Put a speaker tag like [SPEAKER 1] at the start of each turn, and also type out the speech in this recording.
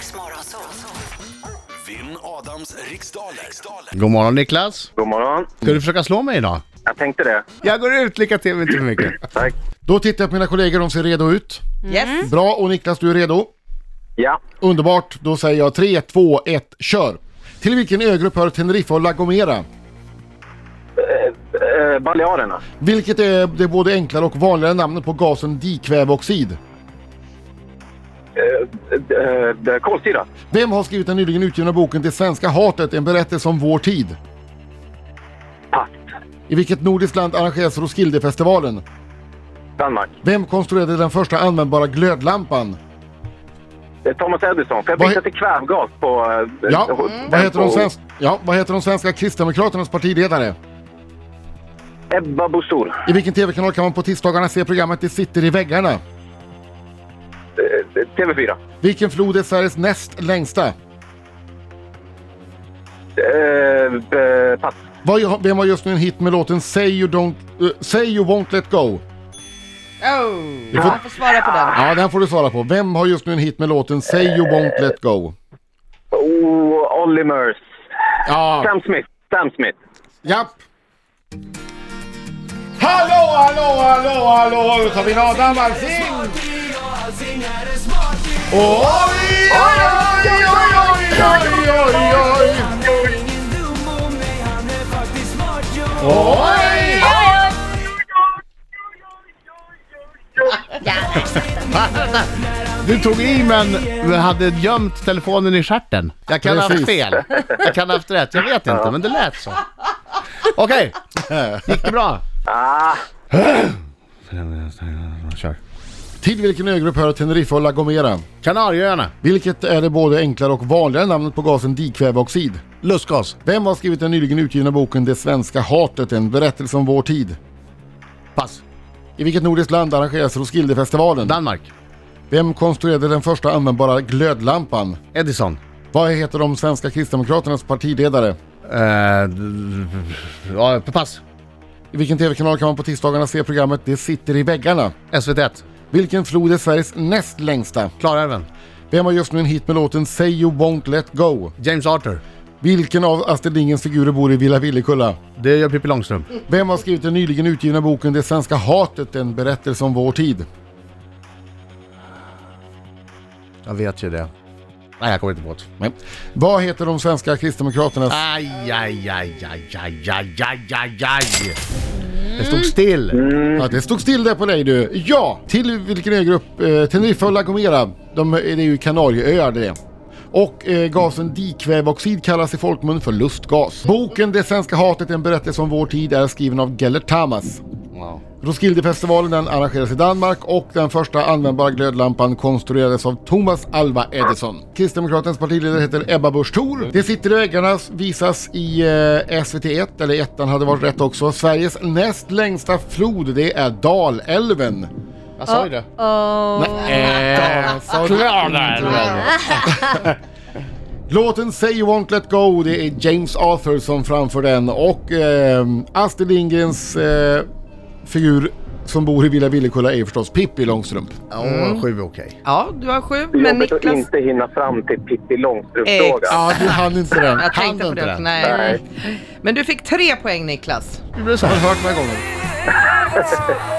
[SPEAKER 1] Morgonzoo.
[SPEAKER 2] Vinn Adams riksdaler. riksdaler.
[SPEAKER 3] God morgon Niklas.
[SPEAKER 4] God morgon.
[SPEAKER 3] Ska du försöka slå mig idag?
[SPEAKER 4] Jag tänkte det.
[SPEAKER 3] Jag går ut, lycka till men inte för mycket.
[SPEAKER 4] Tack.
[SPEAKER 5] Då tittar jag på mina kollegor, de ser redo ut.
[SPEAKER 6] Yes.
[SPEAKER 5] Bra, och Niklas du är redo?
[SPEAKER 4] Ja.
[SPEAKER 5] Underbart, då säger jag 3, 2, 1, kör! Till vilken ögrupp hör Teneriffa och La Gomera?
[SPEAKER 4] Eh, Balearerna.
[SPEAKER 5] Vilket är det både enklare och vanligare namnet på gasen dikväveoxid?
[SPEAKER 4] Eh, eh, kolsyra.
[SPEAKER 5] Vem har skrivit den nyligen utgivna boken Det svenska hatet, en berättelse om vår tid?
[SPEAKER 4] Pass.
[SPEAKER 5] I vilket nordiskt land arrangeras Roskildefestivalen?
[SPEAKER 4] Danmark.
[SPEAKER 5] Vem konstruerade den första användbara glödlampan?
[SPEAKER 4] Eh, Thomas Edison. För jag
[SPEAKER 5] Vad
[SPEAKER 4] bytte
[SPEAKER 5] he-
[SPEAKER 4] till kvävgas på... eh,
[SPEAKER 5] Ja,
[SPEAKER 4] eh,
[SPEAKER 5] vad heter de
[SPEAKER 4] på-
[SPEAKER 5] svenska, ja, vad heter de svenska kristdemokraternas partiledare?
[SPEAKER 4] Ebba Busch Thor.
[SPEAKER 5] I vilken tv-kanal kan man på tisdagarna se programmet Det sitter i väggarna?
[SPEAKER 4] Eh, eh, TV4.
[SPEAKER 5] Vilken flod är Sveriges näst längsta?
[SPEAKER 4] Eh, eh, pass.
[SPEAKER 5] Vad, vem har just nu en hit med låten Say you, don't, eh, say you won't let go?
[SPEAKER 6] Oh.
[SPEAKER 5] Du får-
[SPEAKER 6] Jag får svara på den.
[SPEAKER 5] Ja, den får du svara på. Vem har just nu en hit med låten Say you won't let go?
[SPEAKER 4] Oh, Olly Murs.
[SPEAKER 5] Ja,
[SPEAKER 4] Sam Smith. Sam Smith.
[SPEAKER 5] japp! Hallå, hallå, hallå, hallå! Nu tar vi in Adam Alsing! Oj, oj, oj, oj, oj, oj, oj! Oj!
[SPEAKER 3] Du tog i men du hade gömt telefonen i stjärten. Jag kan ha haft
[SPEAKER 5] Precis.
[SPEAKER 3] fel. Jag kan ha haft rätt, jag vet inte men det lät så. Okej, gick det bra?
[SPEAKER 4] Ah,
[SPEAKER 3] Kör.
[SPEAKER 5] Till vilken ögrupp hör Teneriffa och La Gomera?
[SPEAKER 3] Kanarieöarna,
[SPEAKER 5] Vilket är det både enklare och vanligare namnet på gasen dikväveoxid?
[SPEAKER 3] lustgas,
[SPEAKER 5] Vem har skrivit den nyligen utgivna boken Det svenska hatet, en berättelse om vår tid?
[SPEAKER 3] pass.
[SPEAKER 5] I vilket nordiskt land arrangeras Roskildefestivalen?
[SPEAKER 3] Danmark,
[SPEAKER 5] Vem konstruerade den första användbara glödlampan?
[SPEAKER 3] Edison.
[SPEAKER 5] Vad heter de svenska kristdemokraternas partiledare?
[SPEAKER 3] Eh, ja, pass.
[SPEAKER 5] I vilken tv-kanal kan man på tisdagarna se programmet Det sitter i väggarna?
[SPEAKER 3] SVT1,
[SPEAKER 5] Vilken flod är Sveriges näst längsta?
[SPEAKER 3] Klarälven,
[SPEAKER 5] Vem har just nu en hit med låten Say You Won't Let Go?
[SPEAKER 3] James Arthur.
[SPEAKER 5] Vilken av Astrid Lindgrens figurer bor i Villa Villekulla?
[SPEAKER 3] Det gör Pippi Långstrump.
[SPEAKER 5] Vem har skrivit den nyligen utgivna boken Det svenska hatet, en berättelse om vår tid?
[SPEAKER 3] Jag vet ju det. Nej, jag kommer inte på det.
[SPEAKER 5] Nej. Vad heter de svenska kristdemokraternas...
[SPEAKER 3] Aj, aj, aj, aj, aj, aj, aj, aj, aj. Det stod still.
[SPEAKER 5] Ja, det stod still där på dig du. Ja, till vilken ögrupp? Eh, Teneriffa och La Gomera. De, eh, det är ju Kanarieöar det. är. Och eh, gasen dikväveoxid kallas i folkmun för lustgas. Boken Det svenska hatet, en berättelse om vår tid är skriven av Gellert Tamas.
[SPEAKER 3] Wow.
[SPEAKER 5] Roskildefestivalen den arrangeras i Danmark och den första användbara glödlampan konstruerades av Thomas Alva Edison. Kristdemokraternas partiledare heter Ebba Busch Thor. Det sitter i väggarna visas i eh, SVT1, eller ettan hade varit rätt också. Sveriges näst längsta flod det är Dalälven.
[SPEAKER 3] Jag sa ju det.
[SPEAKER 5] Äh, sa du- Låten Say You Won't Let Go, det är James Arthur som framför den och eh, Astrid Lindgrens eh, figur som bor i Villa Villekulla är förstås Pippi Långstrump.
[SPEAKER 3] Åh, sju är okej.
[SPEAKER 6] Ja, du har sju, men
[SPEAKER 4] jobbigt att
[SPEAKER 6] Niklas...
[SPEAKER 4] inte hinna fram till Pippi Långstrump-frågan.
[SPEAKER 5] Ja, du hann inte den.
[SPEAKER 6] Jag
[SPEAKER 5] Hann
[SPEAKER 6] tänkte på
[SPEAKER 5] inte
[SPEAKER 6] det
[SPEAKER 5] den.
[SPEAKER 6] också. Nej. Men du fick tre poäng Niklas.
[SPEAKER 3] Du blev så
[SPEAKER 5] Har du hört några gånger?